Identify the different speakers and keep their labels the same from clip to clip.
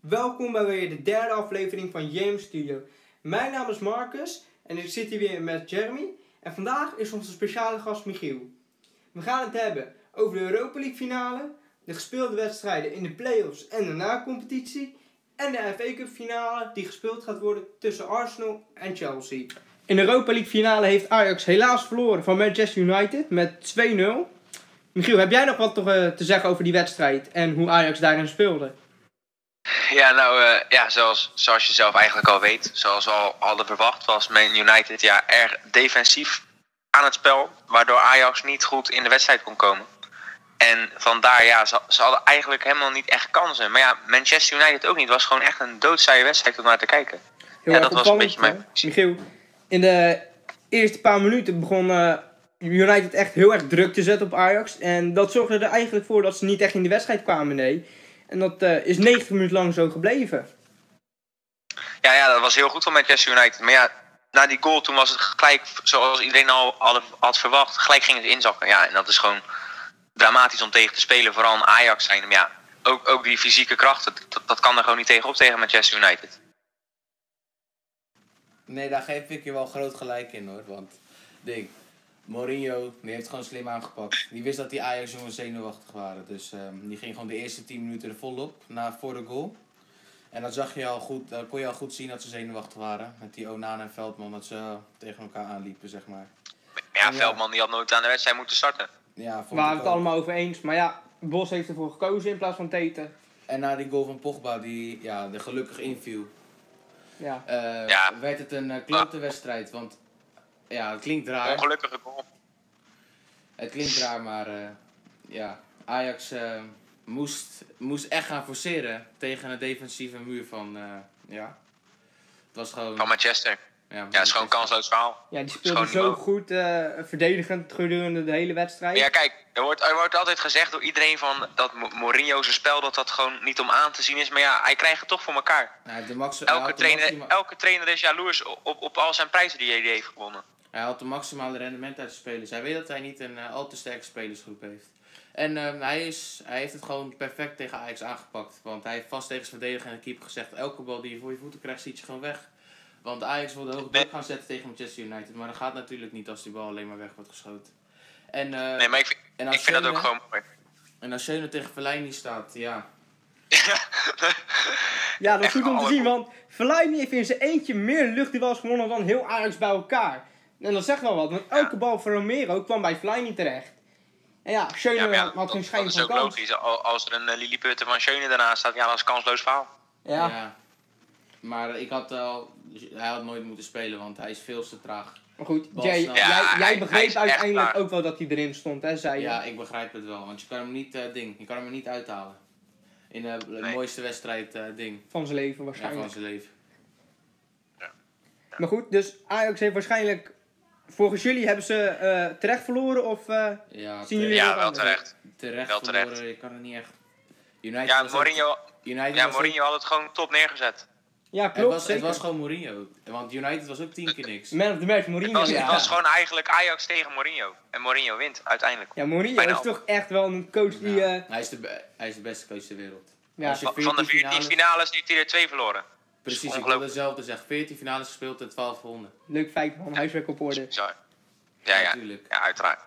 Speaker 1: Welkom bij weer de derde aflevering van James Studio. Mijn naam is Marcus en ik zit hier weer met Jeremy. En vandaag is onze speciale gast Michiel. We gaan het hebben over de Europa League finale, de gespeelde wedstrijden in de play-offs en de na-competitie. En de FA Cup finale die gespeeld gaat worden tussen Arsenal en Chelsea. In de Europa League finale heeft Ajax helaas verloren van Manchester United met 2-0. Michiel, heb jij nog wat te eh, te zeggen over die wedstrijd en hoe Ajax daarin speelde?
Speaker 2: Ja, nou eh, ja, zoals, zoals je zelf eigenlijk al weet, zoals we al hadden verwacht, was Man United ja, erg defensief aan het spel, waardoor Ajax niet goed in de wedstrijd kon komen. En vandaar, ja, ze, ze hadden eigenlijk helemaal niet echt kansen. Maar ja, Manchester United ook niet. Het was gewoon echt een doodzaaie wedstrijd om naar te kijken.
Speaker 1: Heel
Speaker 2: Ja,
Speaker 1: erg
Speaker 2: dat was een
Speaker 1: opvallend,
Speaker 2: beetje mijn
Speaker 1: hè?
Speaker 2: conclusie.
Speaker 1: Michiel, in de eerste paar minuten begon eh, United echt heel erg druk te zetten op Ajax. En dat zorgde er eigenlijk voor dat ze niet echt in de wedstrijd kwamen, nee. En dat eh, is 90 minuten lang zo gebleven.
Speaker 2: Ja, ja, dat was heel goed van Manchester United. Maar ja, na die goal toen was het gelijk, zoals iedereen al had, had verwacht, gelijk ging het inzakken. Ja, en dat is gewoon dramatisch om tegen te spelen, vooral een Ajax zijn. Maar ja, ook, ook die fysieke kracht, dat, dat- dat kan er gewoon niet tegenop tegen Manchester United.
Speaker 3: Nee, daar geef ik je wel groot gelijk in hoor. Want ding, Mourinho die heeft het gewoon slim aangepakt. Die wist dat die Ajax jongens zenuwachtig waren. Dus ehm, die ging gewoon de eerste 10 minuten er volop na, voor de goal. En dan zag je al goed, dan kon je al goed zien dat ze zenuwachtig waren. Met die Onana en Veldman, dat ze eh, tegen elkaar aanliepen, zeg maar.
Speaker 2: Maar ja,
Speaker 3: Ja.
Speaker 2: Veldman die had nooit aan de wedstrijd moeten starten.
Speaker 3: Ja,
Speaker 1: Waar
Speaker 3: vond
Speaker 1: we
Speaker 3: ik
Speaker 1: waren het
Speaker 3: ook.
Speaker 1: allemaal over eens. Maar ja, Bos heeft ervoor gekozen in plaats van Teten.
Speaker 3: En na die goal van Pogba, die ja, er gelukkig inviel,
Speaker 1: Ja.
Speaker 3: eh,
Speaker 2: Ja.
Speaker 3: werd het een eh, klote wedstrijd. Want ja, het klinkt raar.
Speaker 2: Ongelukkige goal.
Speaker 3: Het klinkt raar, maar eh, ja, Ajax eh, moest, moest echt gaan forceren tegen een defensieve muur van, eh, ja, het was gewoon...
Speaker 2: Van Manchester.
Speaker 3: ja,
Speaker 2: Ja, het is gewoon een kansloos verhaal.
Speaker 1: ja, die
Speaker 2: Schoon
Speaker 1: speelde
Speaker 2: niveau.
Speaker 1: zo goed eh, verdedigend gedurende de hele wedstrijd.
Speaker 2: Ja, kijk, er wordt, er wordt altijd gezegd door iedereen van dat Mo- Mourinho zijn spel dat dat gewoon niet om aan te zien is. Maar ja, hij krijgt het toch voor elkaar.
Speaker 3: Hij had Nou, de max- hij
Speaker 2: Elke
Speaker 3: had de
Speaker 2: trainer,
Speaker 3: maxima-
Speaker 2: elke trainer is jaloers op, op al zijn prijzen die hij heeft gewonnen.
Speaker 3: Hij had de maximale rendement uit de spelers. Hij weet dat hij niet een eh, al te sterke spelersgroep heeft. En eh, hij, is, hij heeft het gewoon perfect tegen Ajax aangepakt. Want hij heeft vast tegen zijn verdediger en de keeper gezegd... elke bal die je voor je voeten krijgt, ziet je gewoon weg. Want Ajax wilde hoog druk gaan zetten tegen Manchester United. Maar dat gaat natuurlijk niet als die bal alleen maar weg wordt geschoten. En, eh,
Speaker 2: Nee, maar ik, vind-
Speaker 3: en
Speaker 2: ik vind dat
Speaker 3: Schöne-
Speaker 2: ook gewoon mooi.
Speaker 3: En als Schöne tegen Verleini staat, ja.
Speaker 1: Ja, dat is
Speaker 2: Echt
Speaker 1: goed om te
Speaker 2: alle-
Speaker 1: zien, want Verleiden heeft in zijn eentje meer luchtduels gewonnen dan heel Ajax bij elkaar. En dat zegt wel wat, want elke bal van Romero kwam bij Verleiden terecht. En ja, Schöne
Speaker 2: Ja, maar ja,
Speaker 1: had geen
Speaker 2: dat, dat
Speaker 1: schijn
Speaker 2: is
Speaker 1: van
Speaker 2: ook
Speaker 1: kans.
Speaker 2: logisch. Al- Als er een eh, Lili Putten van Schöne daarnaast staat, ja, dat is een kansloos verhaal.
Speaker 1: Ja.
Speaker 3: Maar ik had al... dus Hij had nooit moeten spelen, want hij is veel te traag.
Speaker 1: maar goed,
Speaker 3: Bas,
Speaker 1: jij,
Speaker 3: nou.
Speaker 1: jij-
Speaker 2: Ja,
Speaker 1: jij,
Speaker 2: hij- hij is
Speaker 1: begreep
Speaker 2: echt
Speaker 1: uiteindelijk
Speaker 2: klaar.
Speaker 1: ook wel dat hij erin stond, hè, zei je.
Speaker 3: Ja, ik begrijp het wel. Want je kan hem niet, eh, ding, je kan hem er niet uithalen. In eh, de
Speaker 2: Nee.
Speaker 3: mooiste wedstrijd, eh, ding,
Speaker 1: Van zijn leven
Speaker 3: ja,
Speaker 1: waarschijnlijk.
Speaker 3: van zijn leven.
Speaker 1: Maar goed, dus Ajax heeft waarschijnlijk... Volgens jullie hebben ze eh, terecht verloren of... eh,
Speaker 3: Ja,
Speaker 1: Zien
Speaker 3: te-
Speaker 1: jullie-
Speaker 2: Ja, wel terecht.
Speaker 3: terecht
Speaker 2: Wel
Speaker 3: verloren.
Speaker 2: terecht.
Speaker 3: Je kan het niet echt... United
Speaker 2: Ja,
Speaker 3: was ook-
Speaker 2: Mourinho,
Speaker 3: United
Speaker 2: ja,
Speaker 3: was ook-
Speaker 2: Mourinho had het gewoon top neergezet.
Speaker 1: ja,
Speaker 3: het,
Speaker 1: klopt,
Speaker 3: was, het
Speaker 1: zeker.
Speaker 3: was gewoon Mourinho. Want United was ook tien keer niks.
Speaker 1: Man of the match, Mourinho.
Speaker 2: Het was,
Speaker 1: ja.
Speaker 2: het was gewoon eigenlijk Ajax tegen Mourinho. En Mourinho wint uiteindelijk.
Speaker 1: ja, Mourinho
Speaker 2: Bijna
Speaker 1: is toch echt wel een coach die...
Speaker 3: Ja,
Speaker 1: eh,
Speaker 3: Nou, hij, is de be- hij is de beste coach ter wereld.
Speaker 1: Ja.
Speaker 3: Als je
Speaker 2: Van van de 14
Speaker 3: 14 finales-
Speaker 2: finales heeft hij er twee verloren.
Speaker 3: Precies, ik wil
Speaker 2: Ongelooflijk.
Speaker 3: hetzelfde zeggen. 14 finales gespeeld en 12 gewonnen.
Speaker 1: leuk feit, man. Huiswerk op orde.
Speaker 2: Bizar. Ja, ja,
Speaker 3: Natuurlijk.
Speaker 2: ja, uiteraard.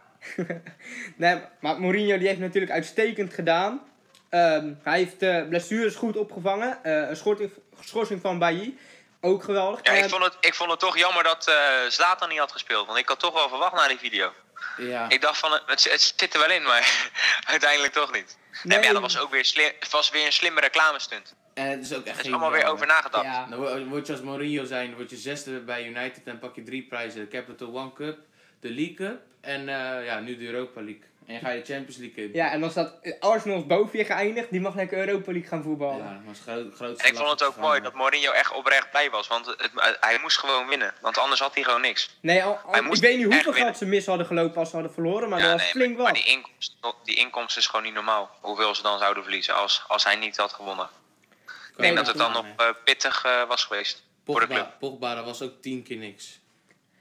Speaker 1: Nee, maar Mourinho die heeft natuurlijk uitstekend gedaan. Ehm, hij heeft eh, blessures goed opgevangen. Eh, een schorting, schorsing van Bailly. Ook geweldig.
Speaker 2: Ja,
Speaker 1: Ehm,
Speaker 2: ik, vond het, ik vond het toch jammer dat eh Zlatan niet had gespeeld. Want ik had toch wel verwacht na die video.
Speaker 3: Ja,
Speaker 2: Ik dacht van, eh, het, het zit er wel in, maar uiteindelijk toch niet. Nee, maar ja, dat was ook weer, slim, het was weer een slimme reclamestunt.
Speaker 3: en het is ook
Speaker 2: Er
Speaker 3: echt
Speaker 2: is
Speaker 3: geen
Speaker 2: allemaal weer
Speaker 3: drama.
Speaker 2: over nagedacht.
Speaker 1: Ja.
Speaker 3: Dan wo- eh, word je als Mourinho zijn, dan word je zesde bij United en pak je drie prijzen. De Capital One Cup, de League Cup en eh, ja, nu de Europa League. En je ga je Champions League in.
Speaker 1: Ja, en dan staat eh, Arsenal is boven je geëindigd. Die mag lekker Europa League gaan voetballen.
Speaker 3: Ja, dat was groot, grootste
Speaker 2: En ik vond het ook
Speaker 3: lastigste
Speaker 2: mooi dat
Speaker 3: verhaal.
Speaker 2: Mourinho echt oprecht blij was. Want het, eh, hij moest gewoon winnen. Want anders had hij gewoon niks.
Speaker 1: Nee, al, al-
Speaker 2: Hij
Speaker 1: ik
Speaker 2: moest
Speaker 1: weet niet
Speaker 2: echt
Speaker 1: hoeveel
Speaker 2: winnen.
Speaker 1: geld ze mis hadden gelopen als ze hadden verloren. Maar dat was
Speaker 2: nee,
Speaker 1: flink
Speaker 2: maar,
Speaker 1: wat.
Speaker 2: maar die inkomst, die inkomst is gewoon niet normaal. Hoeveel ze dan zouden verliezen als, als hij niet had gewonnen. Ik
Speaker 3: Kan je
Speaker 2: denk dat het dan nog
Speaker 3: nagaan, hè.
Speaker 2: eh, pittig eh, was geweest voor de club.
Speaker 3: Pogba, Pogba, dat was ook tien keer niks.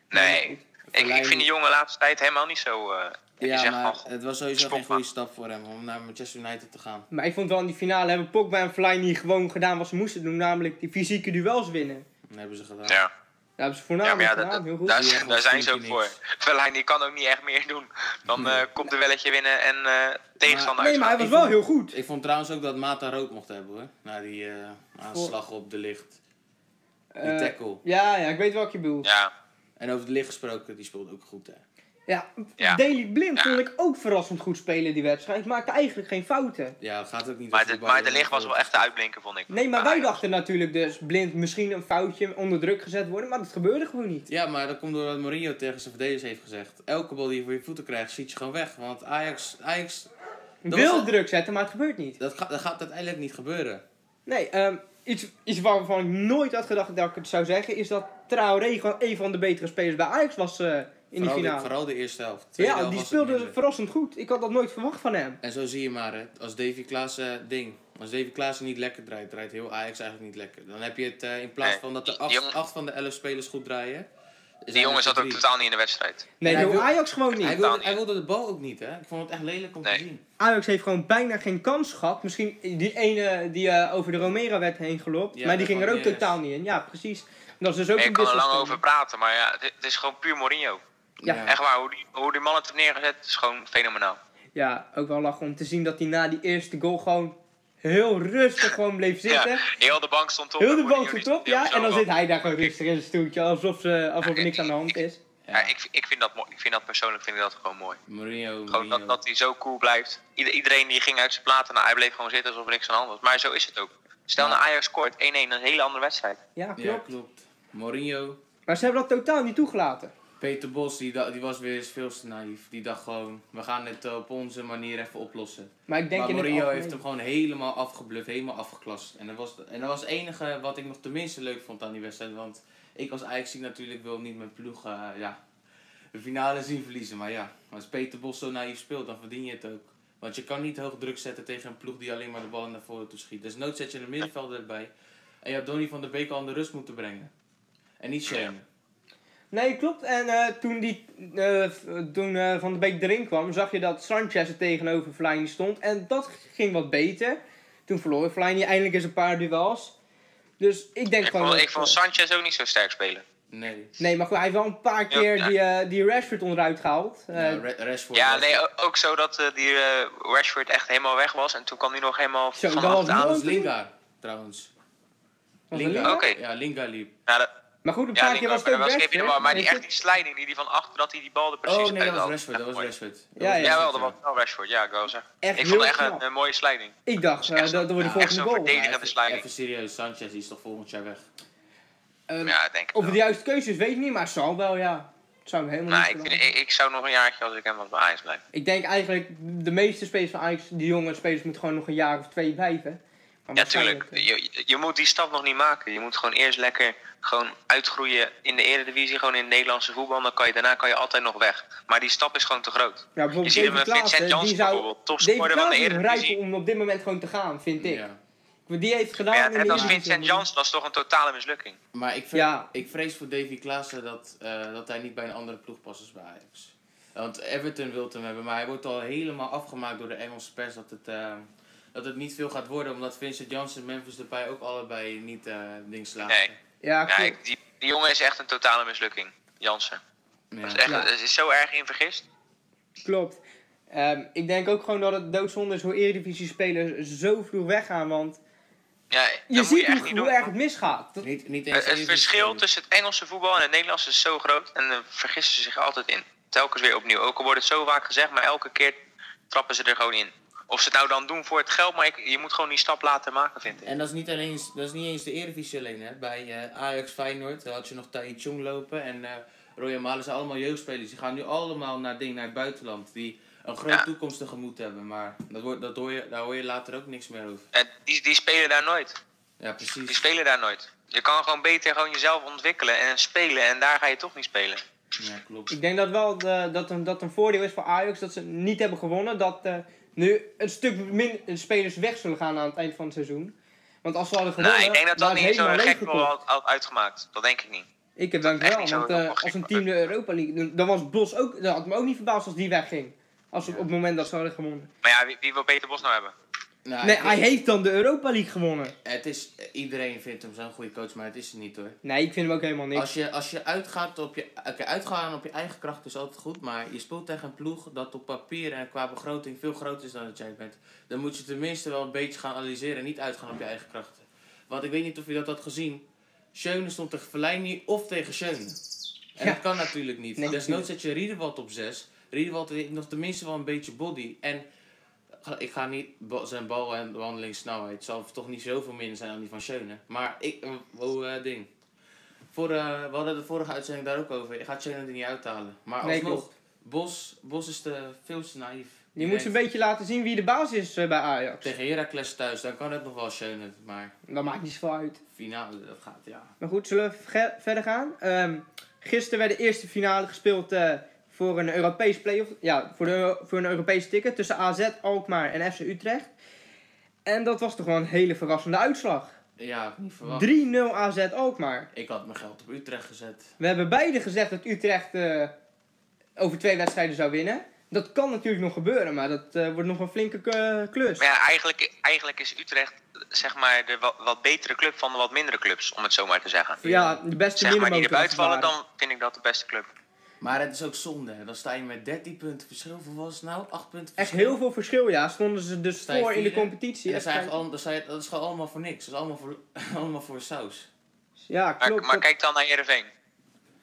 Speaker 2: Nee, ik, ik
Speaker 3: Verleiding.
Speaker 2: vind die jongen de laatste tijd helemaal niet zo... eh, En je
Speaker 3: Ja,
Speaker 2: zegt
Speaker 3: maar
Speaker 2: nog,
Speaker 3: het was sowieso geen
Speaker 2: Pogba.
Speaker 3: goede stap voor hem om naar Manchester United te gaan.
Speaker 1: Maar ik vond wel in die finale hebben Pogba en Fellaini gewoon gedaan wat ze moesten doen. Namelijk die fysieke duels winnen.
Speaker 3: Dat hebben ze gedaan.
Speaker 2: ja.
Speaker 1: Daar hebben ze
Speaker 2: ja,
Speaker 1: voornamelijk
Speaker 2: maar ja, dat-
Speaker 1: gedaan. Heel goed.
Speaker 2: daar,
Speaker 3: Die
Speaker 2: daar
Speaker 3: Engels
Speaker 2: zijn ze ook
Speaker 3: doet hij
Speaker 2: voor. Verlijn kan ook niet echt meer doen. Dan eh, komt de welletje winnen en eh, tegenstander
Speaker 1: nee, maar hij was
Speaker 2: uit.
Speaker 3: Ik
Speaker 1: wel
Speaker 3: vond-
Speaker 1: heel goed.
Speaker 3: Ik vond trouwens ook dat Mata rood mocht hebben hoor. Na die eh, aanslag op de licht. Die
Speaker 1: Eh,
Speaker 3: tackle.
Speaker 1: ja, ja, ik weet welke je bedoelt. Ja.
Speaker 2: Ja,
Speaker 3: En over de licht gesproken, die speelde ook goed hè.
Speaker 2: Ja.
Speaker 1: Daily Blind
Speaker 2: Ja.
Speaker 1: vond ik ook verrassend goed spelen die wedstrijd. Ik maakte eigenlijk geen fouten.
Speaker 3: Ja, het gaat ook niet
Speaker 2: maar
Speaker 3: over
Speaker 2: de,
Speaker 3: ballen,
Speaker 2: maar de licht was wel echt de
Speaker 3: het-
Speaker 2: uitblinker, vond ik.
Speaker 1: Nee,
Speaker 3: Ah,
Speaker 1: maar wij
Speaker 2: Ajax.
Speaker 1: dachten natuurlijk dus blind misschien een foutje onder druk gezet worden, maar dat gebeurde gewoon niet.
Speaker 3: Ja, maar dat komt doordat Mourinho tegen zijn verdedigers heeft gezegd. Elke bal die je voor je voeten krijgt, schiet je gewoon weg. Want Ajax, Ajax Dat
Speaker 1: Wil
Speaker 3: was-
Speaker 1: druk zetten, maar het gebeurt niet.
Speaker 3: dat, gaat dat gaat uiteindelijk niet gebeuren.
Speaker 1: Nee, ehm, iets, iets waarvan ik nooit had gedacht dat ik het zou zeggen, is dat Traoré gewoon een van de betere spelers bij Ajax was eh, in die
Speaker 3: vooral, De,
Speaker 1: finale.
Speaker 3: vooral de eerste helft. Tweede
Speaker 1: ja,
Speaker 3: helft
Speaker 1: die
Speaker 3: was het
Speaker 1: speelde
Speaker 3: minder.
Speaker 1: verrassend goed. Ik had dat nooit verwacht van hem.
Speaker 3: En zo zie je maar, hè, als Davy Klaassen eh, ding. Als Davy Klaassen niet lekker draait, draait heel Ajax eigenlijk niet lekker. Dan heb je het eh, in plaats
Speaker 2: Nee,
Speaker 3: van dat
Speaker 2: die-
Speaker 3: de
Speaker 2: die
Speaker 3: acht,
Speaker 2: jongen-
Speaker 3: acht van de elf spelers goed draaien.
Speaker 2: Die jongen zat ook totaal niet in de wedstrijd.
Speaker 1: Nee,
Speaker 3: hij
Speaker 1: heel
Speaker 3: wil-
Speaker 1: Ajax gewoon
Speaker 3: niet. Hij
Speaker 1: niet.
Speaker 2: totaal
Speaker 3: wilde,
Speaker 2: niet.
Speaker 3: hij wilde de bal ook niet, hè? Ik vond het echt lelijk om
Speaker 2: Nee.
Speaker 3: te zien.
Speaker 1: Ajax heeft gewoon bijna geen kans gehad. Misschien die ene die eh, over de Romera werd heen gelopt,
Speaker 3: Ja,
Speaker 1: maar die
Speaker 3: dat
Speaker 1: ging er
Speaker 3: kwam
Speaker 1: ook
Speaker 3: niet
Speaker 1: totaal niet in. Ja, precies. Dat is dus ook
Speaker 2: Ik
Speaker 1: een
Speaker 2: kan er lang
Speaker 1: business-
Speaker 2: over praten, maar ja, het- het is gewoon puur Mourinho.
Speaker 1: Ja.
Speaker 2: Echt waar, hoe die, hoe die man het heeft neergezet is gewoon fenomenaal.
Speaker 1: Ja, ook wel lachen om te zien dat hij na die eerste goal gewoon heel rustig gewoon bleef zitten.
Speaker 2: Ja, heel de bank stond op.
Speaker 1: Heel
Speaker 2: en
Speaker 1: de
Speaker 2: Mourinho
Speaker 1: bank goed
Speaker 2: die-
Speaker 1: op,
Speaker 2: die
Speaker 1: ja.
Speaker 2: zo
Speaker 1: En dan
Speaker 2: van-
Speaker 1: zit hij daar gewoon rustig in zijn stoeltje, alsof, ze, alsof er
Speaker 2: Ja,
Speaker 1: niks aan de hand is.
Speaker 2: Ja, ik, ik, vind dat, mooi. ik vind dat persoonlijk vind ik dat gewoon mooi.
Speaker 3: Mourinho,
Speaker 2: Gewoon
Speaker 3: Mourinho.
Speaker 2: dat, dat hij zo cool blijft. Ieder- iedereen die ging uit zijn platen, nou, hij bleef gewoon zitten alsof er niks aan de hand was. Maar zo is het ook. Stel
Speaker 3: Ja.
Speaker 2: nou Ajax scoort 1-1, een hele andere wedstrijd.
Speaker 1: Ja, klopt.
Speaker 3: Ja, klopt. Mourinho,
Speaker 1: Maar ze hebben dat totaal niet toegelaten.
Speaker 3: Peter Bos, die, da- die was weer eens veel te naïef. Die dacht gewoon, we gaan het eh, op onze manier even oplossen.
Speaker 1: Maar ik denk
Speaker 3: maar
Speaker 1: in het
Speaker 3: Mourinho
Speaker 1: algemeen-
Speaker 3: heeft hem gewoon helemaal afgebluft, helemaal afgeklast. En dat, was, en dat was het enige wat ik nog tenminste leuk vond aan die wedstrijd. Want ik als ajax natuurlijk wil niet mijn ploeg eh, ja, de finale zien verliezen. Maar ja, als Peter Bos zo naïef speelt, dan verdien je het ook. Want je kan niet hoog druk zetten tegen een ploeg die alleen maar de bal naar voren toe schiet. Dus nood zet je een middenvelder erbij. En je had Donny van der Beek al aan de rust moeten brengen. En niet shamen.
Speaker 1: Nee, klopt. En eh, toen, die, eh, v- toen eh, Van de Beek erin kwam, zag je dat Sanchez er tegenover Fellaini stond. En dat ging wat beter. Toen verloor Fellaini eindelijk eens een paar duels. Dus ik denk
Speaker 2: Ik
Speaker 1: gewoon...
Speaker 2: vond,
Speaker 1: dat-
Speaker 2: ik vond Sanchez ook niet zo sterk spelen.
Speaker 3: Nee.
Speaker 1: Nee, maar goed, hij heeft wel een paar keer
Speaker 2: ja.
Speaker 1: die, eh, die Rashford onderuit gehaald. Eh,
Speaker 3: Ja, Ra- Rashford
Speaker 2: Ja,
Speaker 3: was-
Speaker 2: nee, o- ook zo dat eh, die eh, Rashford echt helemaal weg was. En toen kwam hij nog helemaal
Speaker 1: Zo,
Speaker 2: van
Speaker 1: dat was
Speaker 2: achteraan.
Speaker 3: Dat
Speaker 1: mooi.
Speaker 3: was Lingard, trouwens.
Speaker 1: was er
Speaker 3: Lingard.
Speaker 1: Lingard?
Speaker 2: Oké.
Speaker 3: Ja, Lingard liep.
Speaker 2: Ja, Nou, dat-
Speaker 1: Maar goed, een
Speaker 2: ja,
Speaker 1: paar
Speaker 2: die
Speaker 1: keer
Speaker 2: was,
Speaker 1: was het ook
Speaker 2: was even in de war,
Speaker 1: Rashford.
Speaker 2: Maar die,
Speaker 1: Weet je?
Speaker 2: echt die slijding, die, die van achter, dat hij die bal er precies
Speaker 3: Oh nee, dat
Speaker 2: uit
Speaker 3: was
Speaker 2: had.
Speaker 3: Rashford, dat was
Speaker 2: mooi.
Speaker 3: Rashford. Dat
Speaker 1: Ja,
Speaker 3: was-
Speaker 1: ja.
Speaker 2: Jawel, dat was wel Rashford. Ja, ik wil zeggen.
Speaker 1: Echt
Speaker 2: ik vond
Speaker 1: heel
Speaker 2: echt een,
Speaker 1: knap.
Speaker 2: een mooie slijding.
Speaker 1: Ik dacht, eh, dat,
Speaker 2: echt
Speaker 1: dat wordt de
Speaker 3: zo'n-
Speaker 1: volgende
Speaker 2: echt zo'n
Speaker 1: goal.
Speaker 2: verdediging. Enige
Speaker 3: Maar even,
Speaker 2: besluiting.
Speaker 3: even serieus, Sanchez is toch volgend jaar weg?
Speaker 1: Ehm,
Speaker 2: Ja, ik denk ik
Speaker 1: Of het
Speaker 2: wel.
Speaker 1: de juiste keuze is, weet ik niet, maar het zal wel, ja. Het zou hem helemaal
Speaker 2: Nou,
Speaker 1: niet
Speaker 2: ik,
Speaker 1: veranderen.
Speaker 2: vind- ik, ik zou nog een jaartje als ik hem was bij Ajax blijven.
Speaker 1: Ik denk eigenlijk, de meeste spelers van Ajax, die jonge spelers, moeten gewoon nog een jaar of twee blijven. Maar
Speaker 2: Ja, tuurlijk.
Speaker 1: waarschijnlijk, eh,
Speaker 2: Je, je moet die stap nog niet maken. Je moet gewoon eerst lekker gewoon uitgroeien in de eredivisie, gewoon in het Nederlandse voetbal. Dan kan je, daarna kan je altijd nog weg. Maar die stap is gewoon te groot.
Speaker 1: Ja,
Speaker 2: Je
Speaker 1: bijvoorbeeld
Speaker 2: ziet hem
Speaker 1: David
Speaker 2: met
Speaker 1: Klaassen,
Speaker 2: Vincent
Speaker 1: die
Speaker 2: Janssen
Speaker 1: zou... David
Speaker 2: bijvoorbeeld, topscorer van de
Speaker 1: Klaassen is rijp
Speaker 2: eredivisie.
Speaker 1: om op dit moment gewoon te gaan, vind ik.
Speaker 3: Ja.
Speaker 1: Want Die heeft gedaan
Speaker 2: Maar ja,
Speaker 1: in de
Speaker 2: net als
Speaker 1: Eredivisie.
Speaker 2: Vincent Janssen, dat is toch een totale mislukking.
Speaker 3: Maar ik, vre-
Speaker 1: Ja.
Speaker 3: ik vrees voor Davy Klaassen dat, eh, dat hij niet bij een andere ploeg past als bij Ajax. Want Everton wil hem hebben, maar hij wordt al helemaal afgemaakt door de Engelse pers dat het, eh, dat het niet veel gaat worden. Omdat Vincent Janssen en Memphis Depay ook allebei niet eh ding slagen.
Speaker 1: Ja,
Speaker 2: Ja,
Speaker 1: klopt.
Speaker 2: ik- die, die jongen is echt een totale mislukking, Jansen.
Speaker 3: Nee.
Speaker 2: Dat is echt,
Speaker 1: Ja.
Speaker 2: dat is zo erg in vergist.
Speaker 1: Klopt. Ehm, ik denk ook gewoon dat het doodzonde is hoe Eredivisie-spelers zo vroeg weggaan, want
Speaker 2: Ja,
Speaker 1: je
Speaker 2: dat moet
Speaker 1: ziet
Speaker 2: je echt
Speaker 1: hoe,
Speaker 2: niet
Speaker 1: hoe
Speaker 2: doen.
Speaker 1: erg het misgaat. Dat-
Speaker 3: Niet, niet eens
Speaker 2: Eh, Het, het
Speaker 3: even-
Speaker 2: verschil tussen het Engelse voetbal en het Nederlandse is zo groot. En daar vergissen ze zich altijd in. Telkens weer opnieuw. Ook al wordt het zo vaak gezegd, maar elke keer trappen ze er gewoon in. Of ze het nou dan doen voor het geld, maar ik, je moet gewoon die stap laten maken, vind ik.
Speaker 3: En dat is niet, alleen, dat is niet eens de Eredivisie alleen. Hè. Bij eh, Ajax Feyenoord daar had je nog Tai Chung lopen en eh Roy Malen zijn allemaal jeugdspelers. Die gaan nu allemaal naar, ding, naar het buitenland. Die een grote
Speaker 2: Ja.
Speaker 3: toekomst tegemoet hebben. Maar dat hoor, dat hoor je, daar hoor je later ook niks meer over.
Speaker 2: En die, die spelen daar nooit.
Speaker 3: Ja,
Speaker 2: Die
Speaker 3: precies.
Speaker 2: spelen daar nooit. Je kan gewoon beter gewoon jezelf ontwikkelen en spelen. En daar ga je toch niet spelen.
Speaker 3: Ja, klopt.
Speaker 1: Ik denk dat wel de- dat, een, dat een voordeel is voor Ajax dat ze niet hebben gewonnen. Dat eh, nu een stuk minder spelers weg zullen gaan aan het eind van het seizoen. Want als ze hadden gewonnen,
Speaker 2: nou, ik denk dat
Speaker 1: dan
Speaker 2: dat
Speaker 1: is
Speaker 2: niet
Speaker 1: helemaal
Speaker 2: zo'n gek
Speaker 1: leeggekocht.
Speaker 2: wel had, had uitgemaakt. Dat denk ik niet.
Speaker 1: Ik heb denk
Speaker 2: echt
Speaker 1: wel,
Speaker 2: niet zo
Speaker 1: want
Speaker 2: heel
Speaker 1: eh,
Speaker 2: erg
Speaker 1: als een
Speaker 2: gek
Speaker 1: team de Europa League... Dan was Bos ook... Dat had me ook niet verbaasd als die wegging. Als op,
Speaker 3: Ja.
Speaker 1: op het moment dat ze hadden gewonnen.
Speaker 2: Maar ja, wie, wie wil Peter Bos nou hebben?
Speaker 3: Nou,
Speaker 1: Nee,
Speaker 3: ik-
Speaker 1: hij heeft dan de Europa League gewonnen.
Speaker 3: het is, iedereen vindt hem zo'n goede coach, maar het is het niet hoor.
Speaker 1: Nee, ik vind hem ook helemaal niks.
Speaker 3: Als je, als je uitgaat op je, oké, uitgaan op je eigen kracht is altijd goed, maar je speelt tegen een ploeg dat op papier en qua begroting veel groter is dan dat jij bent. Dan moet je tenminste wel een beetje gaan analyseren en niet uitgaan op je eigen krachten. Want ik weet niet of je dat had gezien. Schöne stond tegen Verleini of tegen Schöne. En
Speaker 1: Ja.
Speaker 3: dat kan natuurlijk niet.
Speaker 1: Nee,
Speaker 3: Desnoods zet je Riedewald op 6. Riedewald heeft nog tenminste wel een beetje body. En ik ga niet ba- zijn bal en wandelingssnelheid. Zal toch niet zoveel minder zijn dan die van Schöne. Maar ik, eh, oh eh, ding. Voor, eh, we hadden de vorige uitzending daar ook over. Ik ga Schöne er niet uithalen. Maar
Speaker 1: Nee,
Speaker 3: alsnog,
Speaker 1: klopt.
Speaker 3: Bos, Bos is te, veel te naïef.
Speaker 1: Je moet ze een
Speaker 3: denkt,
Speaker 1: beetje laten zien wie de baas is eh, bij Ajax.
Speaker 3: Tegen Heracles thuis, dan kan het nog wel Schöne. Maar
Speaker 1: Dat maakt niet zoveel uit.
Speaker 3: finale, dat gaat ja.
Speaker 1: Maar goed, zullen we verge- verder gaan? Ehm, gisteren werd de eerste finale gespeeld eh, voor een Europees playoff. Ja, voor, de, voor een Europees ticket tussen AZ, Alkmaar en FC Utrecht. En dat was toch wel een hele verrassende uitslag.
Speaker 3: Ja, niet verwacht.
Speaker 1: 3-0 AZ Alkmaar.
Speaker 3: Ik had mijn geld op Utrecht gezet.
Speaker 1: We hebben beide gezegd dat Utrecht eh, over twee wedstrijden zou winnen. Dat kan natuurlijk nog gebeuren, maar dat eh, wordt nog een flinke eh, klus.
Speaker 2: Maar ja, eigenlijk, eigenlijk is Utrecht zeg maar de wat, wat betere club van de wat mindere clubs, om het zo maar te zeggen.
Speaker 1: Ja, de beste
Speaker 2: Zeg maar die
Speaker 1: middenmotor
Speaker 2: eruit
Speaker 1: als het
Speaker 2: vallen,
Speaker 1: ware.
Speaker 2: dan vind ik dat de beste club.
Speaker 3: Maar het is ook zonde. hè. Dan sta je met 13 punten verschil. Voor was het nou? 8 punten
Speaker 1: Echt
Speaker 3: verschil.
Speaker 1: heel veel verschil, ja. Stonden ze dus
Speaker 3: Sta je
Speaker 1: voor in de
Speaker 3: vierde?
Speaker 1: competitie.
Speaker 3: En
Speaker 1: Echt
Speaker 3: dat, is eigenlijk al, dat, zijn- dat is gewoon allemaal voor niks. Dat is allemaal voor, allemaal voor saus.
Speaker 1: Ja,
Speaker 2: Maar,
Speaker 1: klopt.
Speaker 2: maar
Speaker 1: dat-
Speaker 2: kijk dan naar
Speaker 1: Ja,
Speaker 2: Heerenveen.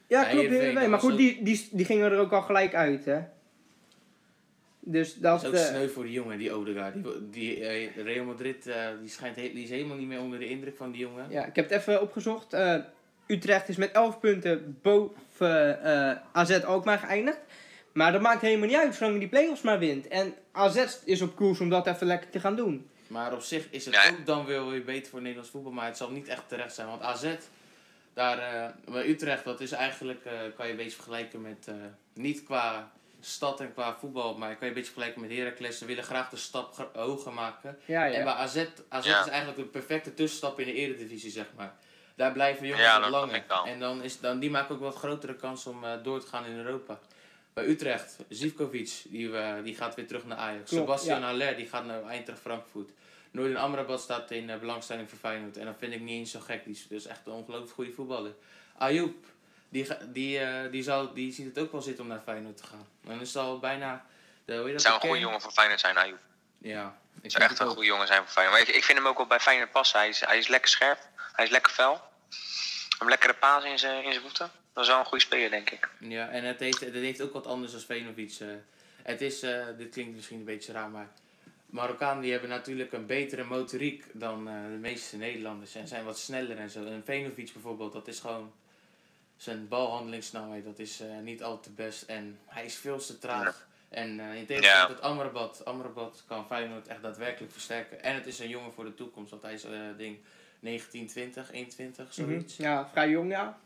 Speaker 3: Ja,
Speaker 1: klopt.
Speaker 3: Heerenveen,
Speaker 1: Heerenveen.
Speaker 3: dat
Speaker 1: Maar
Speaker 3: was
Speaker 1: goed,
Speaker 3: ook-
Speaker 1: die, die, die gingen er ook al gelijk uit, hè. Dus dat...
Speaker 3: Dat is ook
Speaker 1: eh,
Speaker 3: sneu voor die jongen, die Odegaard. Die, die, eh, Real Madrid eh, die schijnt he- die is helemaal niet meer onder de indruk van die jongen.
Speaker 1: ja, ik heb het even opgezocht. Eh, Utrecht is met 11 punten boven eh AZ ook maar geëindigd. Maar dat maakt helemaal niet uit, zolang je die play-offs maar wint. En AZ is op koers om dat even lekker te gaan doen.
Speaker 3: Maar op zich is het
Speaker 2: Ja.
Speaker 3: ook dan wel weer beter voor Nederlands voetbal. Maar het zal niet echt terecht zijn. Want AZ, daar, eh, bij Utrecht, dat is eigenlijk, eh, kan je een beetje vergelijken met, eh, niet qua stad en qua voetbal, maar kan je een beetje vergelijken met Heracles. Ze willen graag de stap gro- hoger maken.
Speaker 1: Ja,
Speaker 3: En bij
Speaker 1: ja.
Speaker 3: AZ, AZ
Speaker 2: Ja.
Speaker 3: is eigenlijk de perfecte tussenstap in de eredivisie, zeg maar. Daar blijven jongens
Speaker 2: Ja,
Speaker 3: wat
Speaker 2: dat snap
Speaker 3: langer.
Speaker 2: ik wel.
Speaker 3: En dan is, dan, die maken ook wat grotere kans om eh, door te gaan in Europa. Bij Utrecht, Zivkovic, die, we- die gaat weer terug naar Ajax.
Speaker 1: Klopt,
Speaker 3: Sebastian
Speaker 1: ja.
Speaker 3: Haller, die gaat naar Eintracht Frankfurt. Noorden Amrabat staat in eh, belangstelling voor Feyenoord. En dat vind ik niet eens zo gek. Die is dus echt een ongelooflijk goede voetballer. Ayoub, die, ga- die, eh, die, zal, die ziet het ook wel zitten om naar Feyenoord te gaan. En dan is het al bijna... De, hoe heet dat,
Speaker 2: Het zou
Speaker 3: de
Speaker 2: een goede
Speaker 3: kern?
Speaker 2: jongen voor Feyenoord zijn, Ayoub.
Speaker 3: Ja. Ik
Speaker 2: Het zou echt een goede jongen zijn voor Feyenoord. Maar ik, ik vind hem ook wel bij Feyenoord passen. Hij is, hij is lekker scherp. Hij is lekker fel. Hij heeft een lekkere paas in zijn in zijn voeten. Dat is wel een goede speler, denk ik.
Speaker 3: Ja, en het heeft, het heeft ook wat anders dan Venovic. eh. het is, eh, dit klinkt misschien een beetje raar, maar Marokkanen die hebben natuurlijk een betere motoriek dan eh, de meeste Nederlanders. En zijn wat sneller en zo. En Venovic bijvoorbeeld, dat is gewoon zijn balhandelingssnelheid, dat is eh, niet al te best. En hij is veel te traag. En eh in
Speaker 2: Ja.
Speaker 3: tegenstelling tot Amrabat, Amrabat kan Feyenoord echt daadwerkelijk versterken. En het is een jongen voor de toekomst, want hij is eh ding 19, 20, 21,
Speaker 1: Mhm.
Speaker 3: zoiets.
Speaker 1: Ja, vrij jong, ja.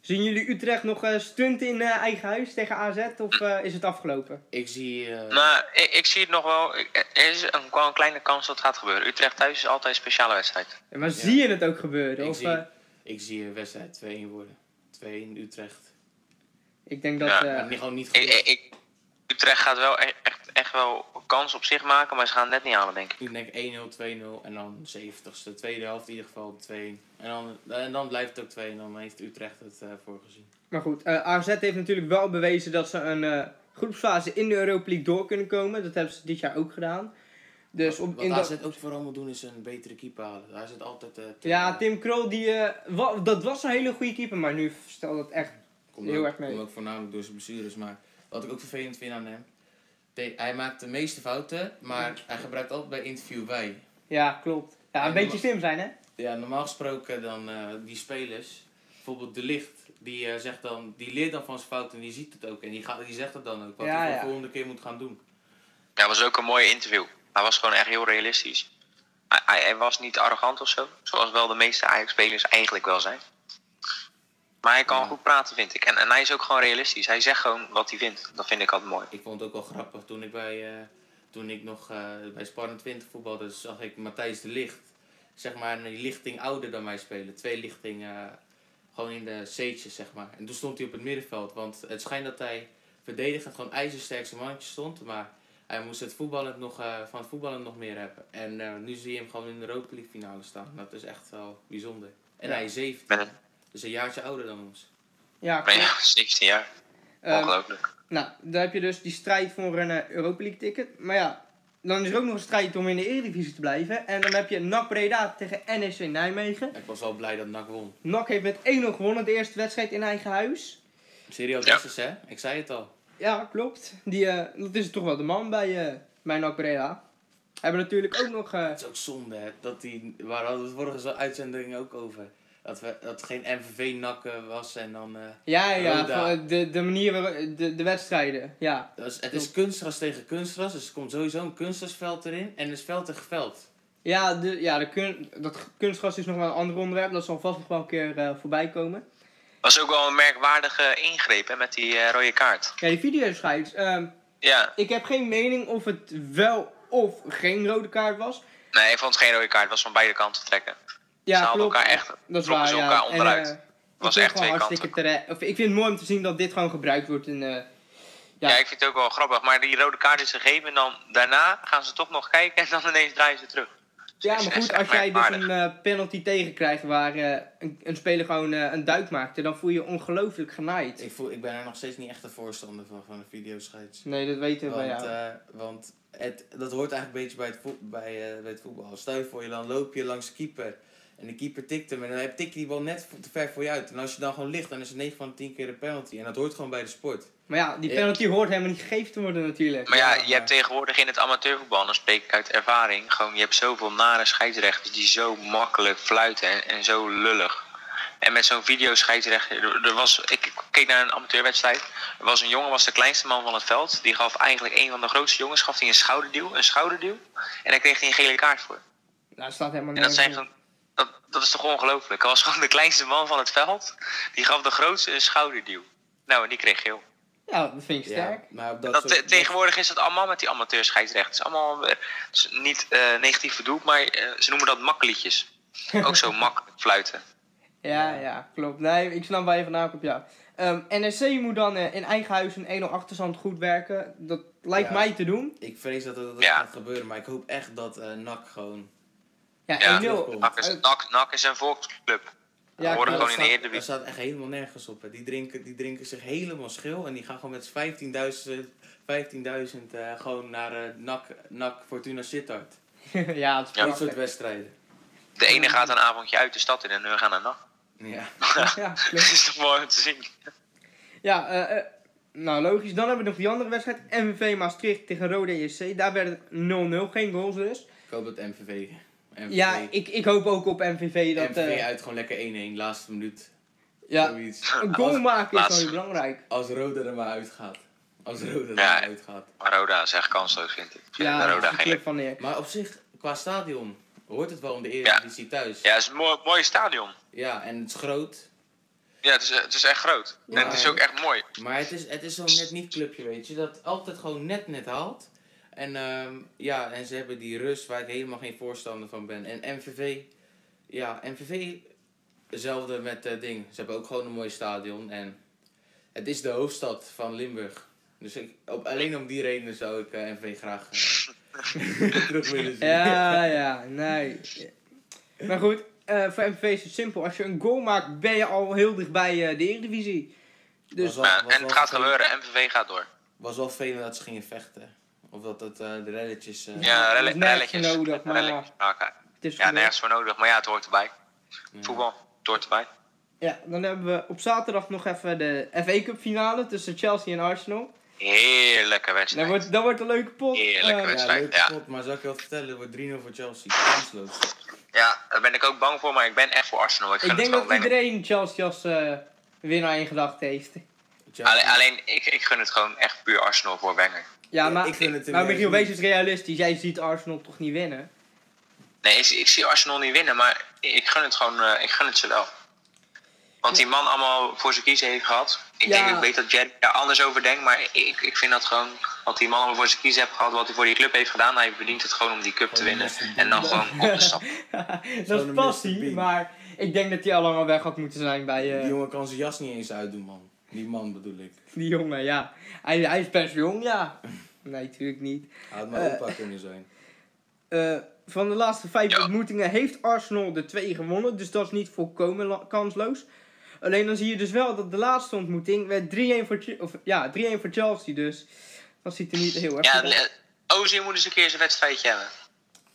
Speaker 1: Zien jullie Utrecht nog eh stunten in eh, eigen huis tegen AZ? Of eh, is het afgelopen?
Speaker 3: Ik zie... eh,
Speaker 2: Maar ik, ik zie het nog wel. ik- Er is een, wel een kleine kans dat het gaat gebeuren. Utrecht thuis is altijd een speciale wedstrijd.
Speaker 1: Ja, Maar zie je het ook gebeuren?
Speaker 3: Ik
Speaker 1: of,
Speaker 3: zie,
Speaker 1: eh,
Speaker 3: ik zie een wedstrijd 2-1 worden. 2-1 Utrecht.
Speaker 1: ik denk dat...
Speaker 2: Ja,
Speaker 1: eh,
Speaker 3: Maar niet- gewoon niet
Speaker 2: Ik,
Speaker 3: genoeg.
Speaker 2: ik, ik- Utrecht gaat wel e- echt, echt wel kans op zich maken, maar ze gaan het net niet halen, denk ik.
Speaker 3: Ik denk 1-0, 2-0 en dan 70ste. Tweede helft in ieder geval 2-1. En dan, en dan blijft het ook 2 en dan heeft Utrecht het eh voorgezien.
Speaker 1: Maar goed, eh, AZ heeft natuurlijk wel bewezen dat ze een eh, groepsfase in de Europa League door kunnen komen. Dat hebben ze dit jaar ook gedaan. Dus op,
Speaker 3: Wat
Speaker 1: in
Speaker 3: AZ
Speaker 1: dat-
Speaker 3: ook vooral moet doen is een betere keeper halen. Daar zit altijd... eh, Tim-
Speaker 1: Ja, Tim Krol, die, eh, wa- dat was een hele goede keeper, maar nu stelt dat echt...
Speaker 3: Komt
Speaker 1: Heel
Speaker 3: ook,
Speaker 1: erg mee.
Speaker 3: Komt ook voornamelijk door zijn blessures. Maar wat ik ook vervelend vind aan hem. de- hij maakt de meeste fouten, maar hij gebruikt altijd bij interview wij.
Speaker 1: Ja, klopt. Ja, een
Speaker 3: En
Speaker 1: beetje
Speaker 3: norma-
Speaker 1: slim zijn, hè?
Speaker 3: Ja, normaal gesproken dan eh, die spelers, bijvoorbeeld De Licht, die eh, zegt dan, die leert dan van zijn fouten en die ziet het ook en die, gaat, die zegt het dan ook, wat
Speaker 1: Ja,
Speaker 3: hij voor
Speaker 1: ja.
Speaker 3: de volgende keer moet gaan doen.
Speaker 2: Ja, was ook een mooi interview. Hij was gewoon echt heel realistisch. Hij, hij, hij was niet arrogant of zo, zoals wel de meeste Ajax-spelers eigenlijk wel zijn. Maar hij kan
Speaker 3: Ja.
Speaker 2: goed praten, vind ik. En, en hij is ook gewoon realistisch. Hij zegt gewoon wat hij vindt. Dat vind ik altijd mooi.
Speaker 3: Ik vond het ook wel grappig toen ik bij, eh, toen ik nog eh, bij Sparren 20 voetbalde, zag ik Matthijs De Licht, zeg maar een lichting ouder dan mij spelen, twee eh, lichtingen, gewoon in de C'tjes zeg maar. En toen stond hij op het middenveld, want het schijnt dat hij verdedigend gewoon ijzersterk zijn mannetje stond. Maar hij moest het voetballen nog, eh, van het voetballen nog meer hebben. En eh, nu zie je hem gewoon in de Europa League finale staan. Dat is echt wel bijzonder. En
Speaker 1: Ja.
Speaker 3: hij is 17.
Speaker 2: Ben,
Speaker 3: Dus een jaartje ouder dan ons.
Speaker 1: Ja,
Speaker 2: ben
Speaker 1: klopt.
Speaker 2: je 17 jaar?
Speaker 1: Ehm,
Speaker 2: Ongelooflijk.
Speaker 1: Nou, dan heb je dus die strijd voor een eh, Europa League ticket. Maar ja, dan is er ook nog een strijd om in de Eredivisie te blijven. En dan heb je NAC Breda tegen NEC Nijmegen.
Speaker 3: Ik was wel blij dat NAC won.
Speaker 1: NAC heeft met 1-0 gewonnen de eerste wedstrijd in eigen huis.
Speaker 3: Serieus,
Speaker 2: Ja.
Speaker 3: hè? Ik zei het al.
Speaker 1: Ja, klopt. Die, eh, dat is toch wel de man bij, eh bij NAC Breda. Hebben natuurlijk ook nog... eh,
Speaker 3: Het is ook zonde, hè? Dat die, waar hadden we het vorige zo- uitzending ook over. Dat, we, dat geen MVV-nakken was en dan... eh,
Speaker 1: ja,
Speaker 2: Oh,
Speaker 1: ja,
Speaker 3: Roda.
Speaker 1: van de, de manier waarop... De, de wedstrijden, ja.
Speaker 3: dat is, het is kunstgras tegen kunstgras, dus er komt sowieso een kunstgrasveld erin. En er is veld tegen veld.
Speaker 1: Ja, de, ja de kun, dat kunstgras is nog wel een ander onderwerp. Dat zal vast nog wel een keer eh, voorbij komen.
Speaker 2: Was ook wel een merkwaardige ingreep hè, met die eh, rode kaart.
Speaker 1: Ja, die videoscheids. ehm
Speaker 2: Ja,
Speaker 1: Ik heb geen mening of het wel of geen rode kaart was.
Speaker 2: nee, ik vond het geen rode kaart. Het was van beide kanten trekken.
Speaker 1: Ja,
Speaker 2: Ze haalden
Speaker 1: klopt.
Speaker 2: elkaar echt.
Speaker 1: Dat is
Speaker 2: trokken
Speaker 1: waar,
Speaker 2: ze
Speaker 1: ja.
Speaker 2: elkaar
Speaker 1: En,
Speaker 2: onderuit.
Speaker 1: eh,
Speaker 2: Het was
Speaker 1: ik vind het
Speaker 2: echt twee
Speaker 1: gewoon
Speaker 2: kanten.
Speaker 1: hartstikke terecht- Of, ik vind het mooi om te zien dat dit gewoon gebruikt wordt. In, eh, ja.
Speaker 2: Ja. ik vind het ook wel grappig. Maar die rode kaart is gegeven en dan daarna gaan ze toch nog kijken en dan ineens draaien ze terug.
Speaker 1: ja,
Speaker 2: is
Speaker 1: maar
Speaker 2: echt
Speaker 1: goed, als jij dus
Speaker 2: merkwaardig.
Speaker 1: een eh, penalty tegenkrijgt waar eh, een, een speler gewoon eh, een duik maakte, dan voel je je ongelooflijk genaaid.
Speaker 3: Ik, voel, ik ben er nog steeds niet echt een voorstander van, van een videoscheids.
Speaker 1: Nee, dat weten we
Speaker 3: Want,
Speaker 1: bij jou.
Speaker 3: eh, want het, dat hoort eigenlijk een beetje bij het, voet, bij, eh, bij het voetbal. Stel je voor, je dan loop je langs de keeper. En de keeper tikt hem. En dan tik je die bal net te ver voor je uit. En als je dan gewoon ligt, dan is het 9 van de 10 keer een penalty. En dat hoort gewoon bij de sport.
Speaker 1: maar ja, die
Speaker 3: eh,
Speaker 1: penalty hoort helemaal niet gegeven te worden natuurlijk.
Speaker 2: Maar ja,
Speaker 3: Ja,
Speaker 2: je hebt
Speaker 3: maar-
Speaker 2: tegenwoordig in het amateurvoetbal, en dan spreek ik uit ervaring, gewoon je hebt zoveel nare scheidsrechters die zo makkelijk fluiten en, en zo lullig. En met zo'n videoscheidsrechter, er- er was, ik keek naar een amateurwedstrijd, er was een jongen, was de kleinste man van het veld, die gaf eigenlijk een van de grootste jongens, gaf hij een schouderduw, een schouderduw, en daar kreeg hij een gele kaart voor.
Speaker 1: Nou, staat helemaal
Speaker 2: En dat, zijn
Speaker 1: nergens op.
Speaker 2: gewoon, dat, dat is toch ongelooflijk? Hij was gewoon de kleinste man van het veld, die gaf de grootste een schouderduw. Nou, en die kreeg geel.
Speaker 1: Ja, dat vind ik sterk.
Speaker 3: maar op dat,
Speaker 2: Dat,
Speaker 3: soort-
Speaker 2: eh, tegenwoordig is dat allemaal met die amateurscheidsrechters. Allemaal eh, het is niet eh, negatief bedoeld, maar eh, ze noemen dat makkeliedjes. Ook zo makkelijk fluiten.
Speaker 1: Ja, ja, klopt. Nee, ik snap waar je vandaan komt, ja. Ehm NSC moet dan eh, in eigen huis een 1-0 achterstand goed werken. Dat lijkt
Speaker 3: Ja.
Speaker 1: mij te doen.
Speaker 3: Ik vrees dat dat, dat
Speaker 2: Ja. dat
Speaker 3: gaat gebeuren. Maar ik hoop echt dat NAC gewoon...
Speaker 1: Ja, 1-0.
Speaker 2: Ja,
Speaker 3: terugkomt.
Speaker 2: NAC is,
Speaker 1: Eh,
Speaker 2: NAC, NAC is een volksclub.
Speaker 1: Ja,
Speaker 2: horen
Speaker 1: klopt.
Speaker 2: gewoon in de
Speaker 3: staat,
Speaker 2: Eredivisie.
Speaker 3: staat echt helemaal nergens op. Hè. Die, drinken, die drinken zich helemaal schil. En die gaan gewoon met z'n 15.000 15.000 eh, gewoon naar eh, NAC, NAC Fortuna Sittard.
Speaker 1: ja, het is
Speaker 3: Dat soort
Speaker 1: prachtig.
Speaker 3: wedstrijden.
Speaker 2: De ene gaat een avondje uit de stad in en de andere gaan naar NAC.
Speaker 3: Ja.
Speaker 1: Ja,
Speaker 2: Dat
Speaker 1: klopt.
Speaker 2: is toch mooi om te zien.
Speaker 1: Ja, eh, eh, nou logisch. Dan hebben we nog die andere wedstrijd. MVV Maastricht tegen Rode JC. Daar werd het 0-0. Geen goals dus.
Speaker 3: Ik hoop dat MVV... MVV
Speaker 1: Ja, ik, ik hoop ook op MVV dat...
Speaker 3: MVV
Speaker 1: eh,
Speaker 3: uit gewoon lekker 1-1, laatste minuut.
Speaker 1: ja,
Speaker 3: Zoiets.
Speaker 1: een goal
Speaker 3: Als-
Speaker 1: maken is
Speaker 2: laatst-
Speaker 1: wel heel belangrijk.
Speaker 3: Als Roda er maar uitgaat. Als Roda er
Speaker 2: Ja.
Speaker 3: maar uitgaat.
Speaker 2: Maar Roda is echt kansloos, vind ik. Ik vind
Speaker 1: Ja,
Speaker 2: dat
Speaker 1: dat
Speaker 2: Roda
Speaker 1: is de
Speaker 2: geen...
Speaker 1: club van neer.
Speaker 3: Maar op zich, qua stadion, hoort het wel om de Eredivisie thuis.
Speaker 2: Ja, het is een mooi, mooi stadion.
Speaker 3: Ja, en het is groot.
Speaker 2: Ja, het is, het is echt groot.
Speaker 1: Ja.
Speaker 2: En het is ook echt mooi.
Speaker 3: Maar het is, het is zo'n net niet clubje, weet je. Dat altijd gewoon net net haalt. En ehm, ja, en ze hebben die rust waar ik helemaal geen voorstander van ben. En MVV, ja, MVV, hetzelfde met dat ding. Ze hebben ook gewoon een mooi stadion. En het is de hoofdstad van Limburg. Dus ik, op, alleen om die reden zou ik eh, MVV graag eh, terug willen zien.
Speaker 1: Ja, ja, nee. Maar goed, eh, voor MVV is het simpel. Als je een goal maakt, ben je al heel dichtbij eh, de Eredivisie. Dus
Speaker 3: Was wel-
Speaker 2: Ja,
Speaker 3: was
Speaker 2: en het
Speaker 3: wel
Speaker 2: gaat
Speaker 3: vervelend-
Speaker 2: gebeuren. MVV gaat door.
Speaker 3: was wel vervelend dat ze gingen vechten. Of dat, dat eh, de relletjes... eh,
Speaker 2: Ja, relle-
Speaker 1: nergens
Speaker 2: relletjes.
Speaker 1: nodig, maar-
Speaker 2: Relletjes maken.
Speaker 1: het is
Speaker 2: Ja,
Speaker 1: gebeurd.
Speaker 2: nergens voor nodig. Maar ja, het hoort erbij. Voetbal, het hoort erbij.
Speaker 1: Ja, dan hebben we op zaterdag nog even de FA Cup finale tussen Chelsea en Arsenal.
Speaker 2: Heerlijke
Speaker 1: Dat
Speaker 2: wedstrijd.
Speaker 1: wordt, dat wordt een leuke pot.
Speaker 2: Heerlijke
Speaker 1: Eh,
Speaker 2: wedstrijd.
Speaker 3: Ja, leuk
Speaker 2: Ja.
Speaker 3: spot, maar zal ik je wat vertellen? Het wordt 3-0 voor Chelsea. Kansloos.
Speaker 2: Ja, daar ben ik ook bang voor, maar ik ben echt voor Arsenal. Ik, gun
Speaker 1: ik denk
Speaker 2: het
Speaker 1: dat
Speaker 2: gewoon bijna-
Speaker 1: iedereen Chelsea als eh, winnaar in gedachten heeft.
Speaker 3: Chelsea-
Speaker 2: Alleen, alleen ik, ik gun het gewoon echt puur Arsenal voor Wenger.
Speaker 1: Ja,
Speaker 3: Ja,
Speaker 1: maar,
Speaker 3: ik vind het hem
Speaker 1: maar
Speaker 3: juist
Speaker 1: Michiel,
Speaker 3: niet.
Speaker 1: wees eens realistisch. Jij ziet Arsenal toch niet winnen?
Speaker 2: Nee, ik, ik zie Arsenal niet winnen, maar ik gun het gewoon, eh, ik gun het ze wel. Want die man allemaal voor zijn kiezen heeft gehad. Ik,
Speaker 1: Ja.
Speaker 2: denk, ik weet dat Jerry daar anders over denkt, maar ik, ik vind dat gewoon... Wat die man allemaal voor zijn kiezen heeft gehad, wat hij voor die club heeft gedaan... Hij verdient het gewoon om die cup te
Speaker 3: Gewoon
Speaker 2: winnen.
Speaker 3: een
Speaker 2: En dan gewoon op de stap.
Speaker 1: dat is
Speaker 3: een Mr.
Speaker 1: passie,
Speaker 3: Bean.
Speaker 1: maar ik denk dat hij al lang al weg had moeten zijn bij... eh,
Speaker 3: Die jongen kan zijn jas niet eens uitdoen, man. Die man bedoel ik.
Speaker 1: Die jongen, ja. Hij, hij is best jong, ja. Nee, natuurlijk niet.
Speaker 3: Had maar opa kunnen zijn.
Speaker 1: Eh, van de laatste vijf
Speaker 2: Ja.
Speaker 1: ontmoetingen heeft Arsenal de twee gewonnen. Dus dat is niet volkomen la- kansloos. Alleen dan zie je dus wel dat de laatste ontmoeting werd 3-1 voor, Ch- of, ja, 3-1 voor Chelsea. Dus dat ziet er niet heel erg
Speaker 2: Ja,
Speaker 1: goed uit.
Speaker 2: le- Ozil moet eens een keer zijn wedstrijdje hebben.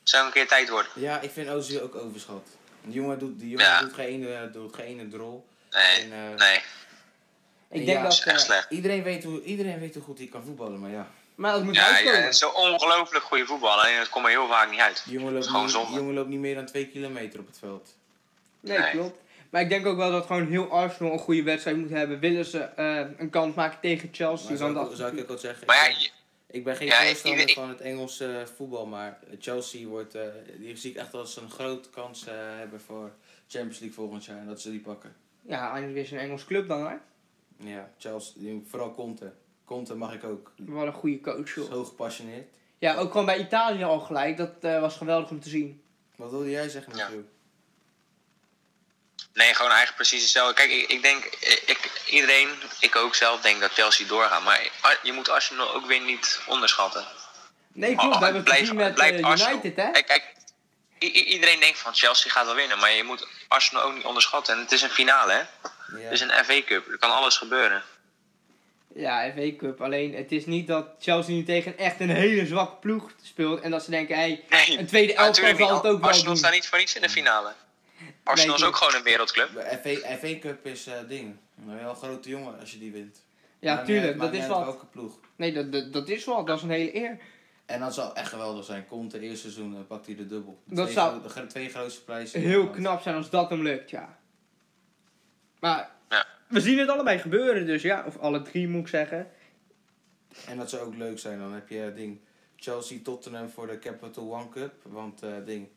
Speaker 2: Zou een keer tijd worden.
Speaker 3: Ja, ik vind Ozil ook overschat. Die jongen doet, die jongen
Speaker 2: Ja.
Speaker 3: doet geen ene, doet geen ene drol.
Speaker 2: Nee,
Speaker 3: En, eh,
Speaker 2: nee.
Speaker 1: Ik denk
Speaker 3: Ja,
Speaker 1: dat...
Speaker 2: is echt
Speaker 1: eh,
Speaker 2: slecht.
Speaker 3: Iedereen weet, hoe, iedereen weet hoe goed hij kan voetballen, maar ja.
Speaker 1: maar dat moet
Speaker 2: Ja,
Speaker 1: uitkomen.
Speaker 2: ja, zo ongelooflijk goede voetbal. Alleen het komt er heel vaak niet uit.
Speaker 3: Die jongen loopt,
Speaker 2: Gewoon
Speaker 3: niet,
Speaker 2: zonde.
Speaker 3: die jongen loopt niet meer dan twee kilometer op het veld.
Speaker 1: Nee,
Speaker 2: Nee.
Speaker 1: klopt. Maar ik denk ook wel dat gewoon heel Arsenal een goede wedstrijd moet hebben. Willen ze eh, een kans maken tegen Chelsea? Dan
Speaker 3: Maar zou,
Speaker 1: dat...
Speaker 3: ik, zou ik ook al zeggen.
Speaker 2: Maar ja,
Speaker 3: ik, ben,
Speaker 2: je-
Speaker 3: ik ben geen
Speaker 2: ja, ik-
Speaker 3: voorstander
Speaker 2: ik-
Speaker 3: van het Engelse voetbal, maar Chelsea wordt, eh, die zie ik echt als een grote kans eh, hebben voor Champions League volgend jaar. En dat ze die pakken.
Speaker 1: Ja, eindelijk weer een Engels club dan, hè?
Speaker 3: Ja, Chelsea, die- vooral Conte. Conte mag ik ook.
Speaker 1: Wat een goede coach,
Speaker 3: Is
Speaker 1: joh.
Speaker 3: Zo gepassioneerd.
Speaker 1: Ja, ook gewoon bij Italië al gelijk. Dat eh, was geweldig om te zien.
Speaker 3: Wat wilde jij zeggen
Speaker 2: Ja.
Speaker 3: natuurlijk?
Speaker 2: nee, gewoon eigenlijk precies hetzelfde. Kijk, ik, ik denk, ik, iedereen, ik ook zelf, denk dat Chelsea doorgaat. Maar Ar- je moet Arsenal ook weer niet onderschatten.
Speaker 1: Nee, klopt. we
Speaker 2: Oh,
Speaker 1: hebben het gezien met eh,
Speaker 2: Arsenal.
Speaker 1: United, hè?
Speaker 2: Kijk, kijk, i- i- iedereen denkt van Chelsea gaat wel winnen. Maar je moet Arsenal ook niet onderschatten. En het is een finale, hè?
Speaker 3: Ja.
Speaker 2: Het is een FA Cup. Er kan alles gebeuren.
Speaker 1: Ja, FA Cup. Alleen, het is niet dat Chelsea nu tegen echt een hele zwakke ploeg speelt. En dat ze denken, hé, hey,
Speaker 2: Nee,
Speaker 1: een tweede elftal
Speaker 2: natuurlijk niet.
Speaker 1: zal het ook wel
Speaker 2: Arsenal
Speaker 1: doen.
Speaker 2: staat niet voor niets in de finale. Arsenal is
Speaker 1: Nee,
Speaker 2: ook gewoon een wereldclub.
Speaker 3: De FA, FA Cup is eh ding. Dan ben je wel een grote jongen als je die wint. Maakt
Speaker 1: Ja,
Speaker 3: niet
Speaker 1: tuurlijk.
Speaker 3: uit-
Speaker 1: Dat
Speaker 3: maakt
Speaker 1: is
Speaker 3: niet uit
Speaker 1: wat.
Speaker 3: Welke ploeg.
Speaker 1: Nee, dat, dat, dat is wat. Dat is een hele eer.
Speaker 3: En dat zou echt geweldig zijn. Komt het eerste seizoen, dan pakt hij de dubbel. De
Speaker 1: Dat
Speaker 3: twee
Speaker 1: zou-
Speaker 3: gro- de gro- twee grootste prijzen.
Speaker 1: heel
Speaker 3: Want-
Speaker 1: knap zijn als dat hem lukt, ja. Maar
Speaker 2: Ja.
Speaker 1: we zien het allebei gebeuren, dus ja. Of alle drie, moet ik zeggen.
Speaker 3: En dat zou ook leuk zijn. Dan heb je eh, ding Chelsea Tottenham voor de Capital One Cup. Want eh, ding.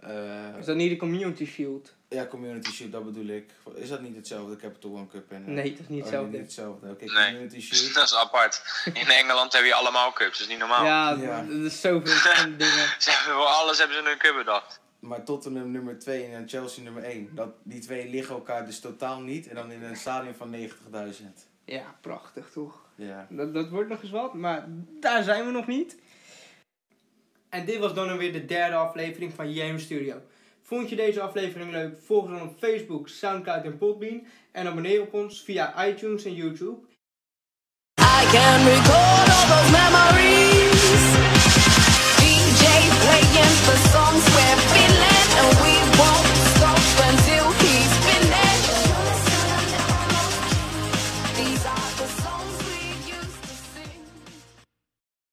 Speaker 3: eh,
Speaker 1: Is dat niet de Community Shield?
Speaker 3: ja, Community Shield, dat bedoel ik. Is dat niet hetzelfde, de Capital One Cup? En, eh,
Speaker 1: Nee, dat is niet
Speaker 3: oh,
Speaker 1: hetzelfde.
Speaker 3: Niet hetzelfde. Oké,
Speaker 2: Nee.
Speaker 3: Community Shield.
Speaker 2: Dat is apart. In Engeland hebben je allemaal cups, dat is niet normaal.
Speaker 1: Ja,
Speaker 3: Ja.
Speaker 1: d- dat is zoveel verschillende dingen.
Speaker 2: Ze hebben voor alles hebben ze een cup bedacht.
Speaker 3: Maar Tottenham nummer 2 en dan Chelsea nummer 1. Dat, die twee liggen elkaar dus totaal niet. En dan in een stadion van 90.000.
Speaker 1: Ja, prachtig toch?
Speaker 3: Ja.
Speaker 1: Dat, dat wordt nog eens wat, maar daar zijn we nog niet. En dit was dan weer de derde aflevering van JM Studio. Vond je deze aflevering leuk? Volg ons op Facebook, Soundcloud en Podbean. En abonneer op ons via iTunes en YouTube.
Speaker 4: I can record all those memories. DJ playing the songs we're feeling and we